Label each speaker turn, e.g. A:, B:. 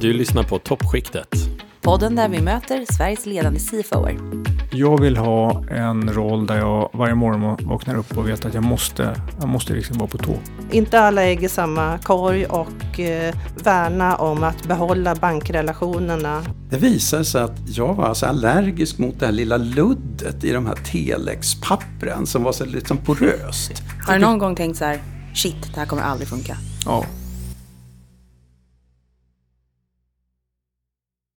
A: Du lyssnar på Toppskiktet.
B: Podden där vi möter Sveriges ledande CFOer.
C: Jag vill ha en roll där jag varje morgon vaknar upp och vet att jag måste, jag måste liksom vara på tå.
D: Inte alla ägg i samma korg och eh, värna om att behålla bankrelationerna.
E: Det visade sig att jag var alltså allergisk mot det här lilla luddet i de här telexpappren som var så liksom poröst.
B: Har du någon gång tänkt så här, shit, det här kommer aldrig funka?
C: Ja,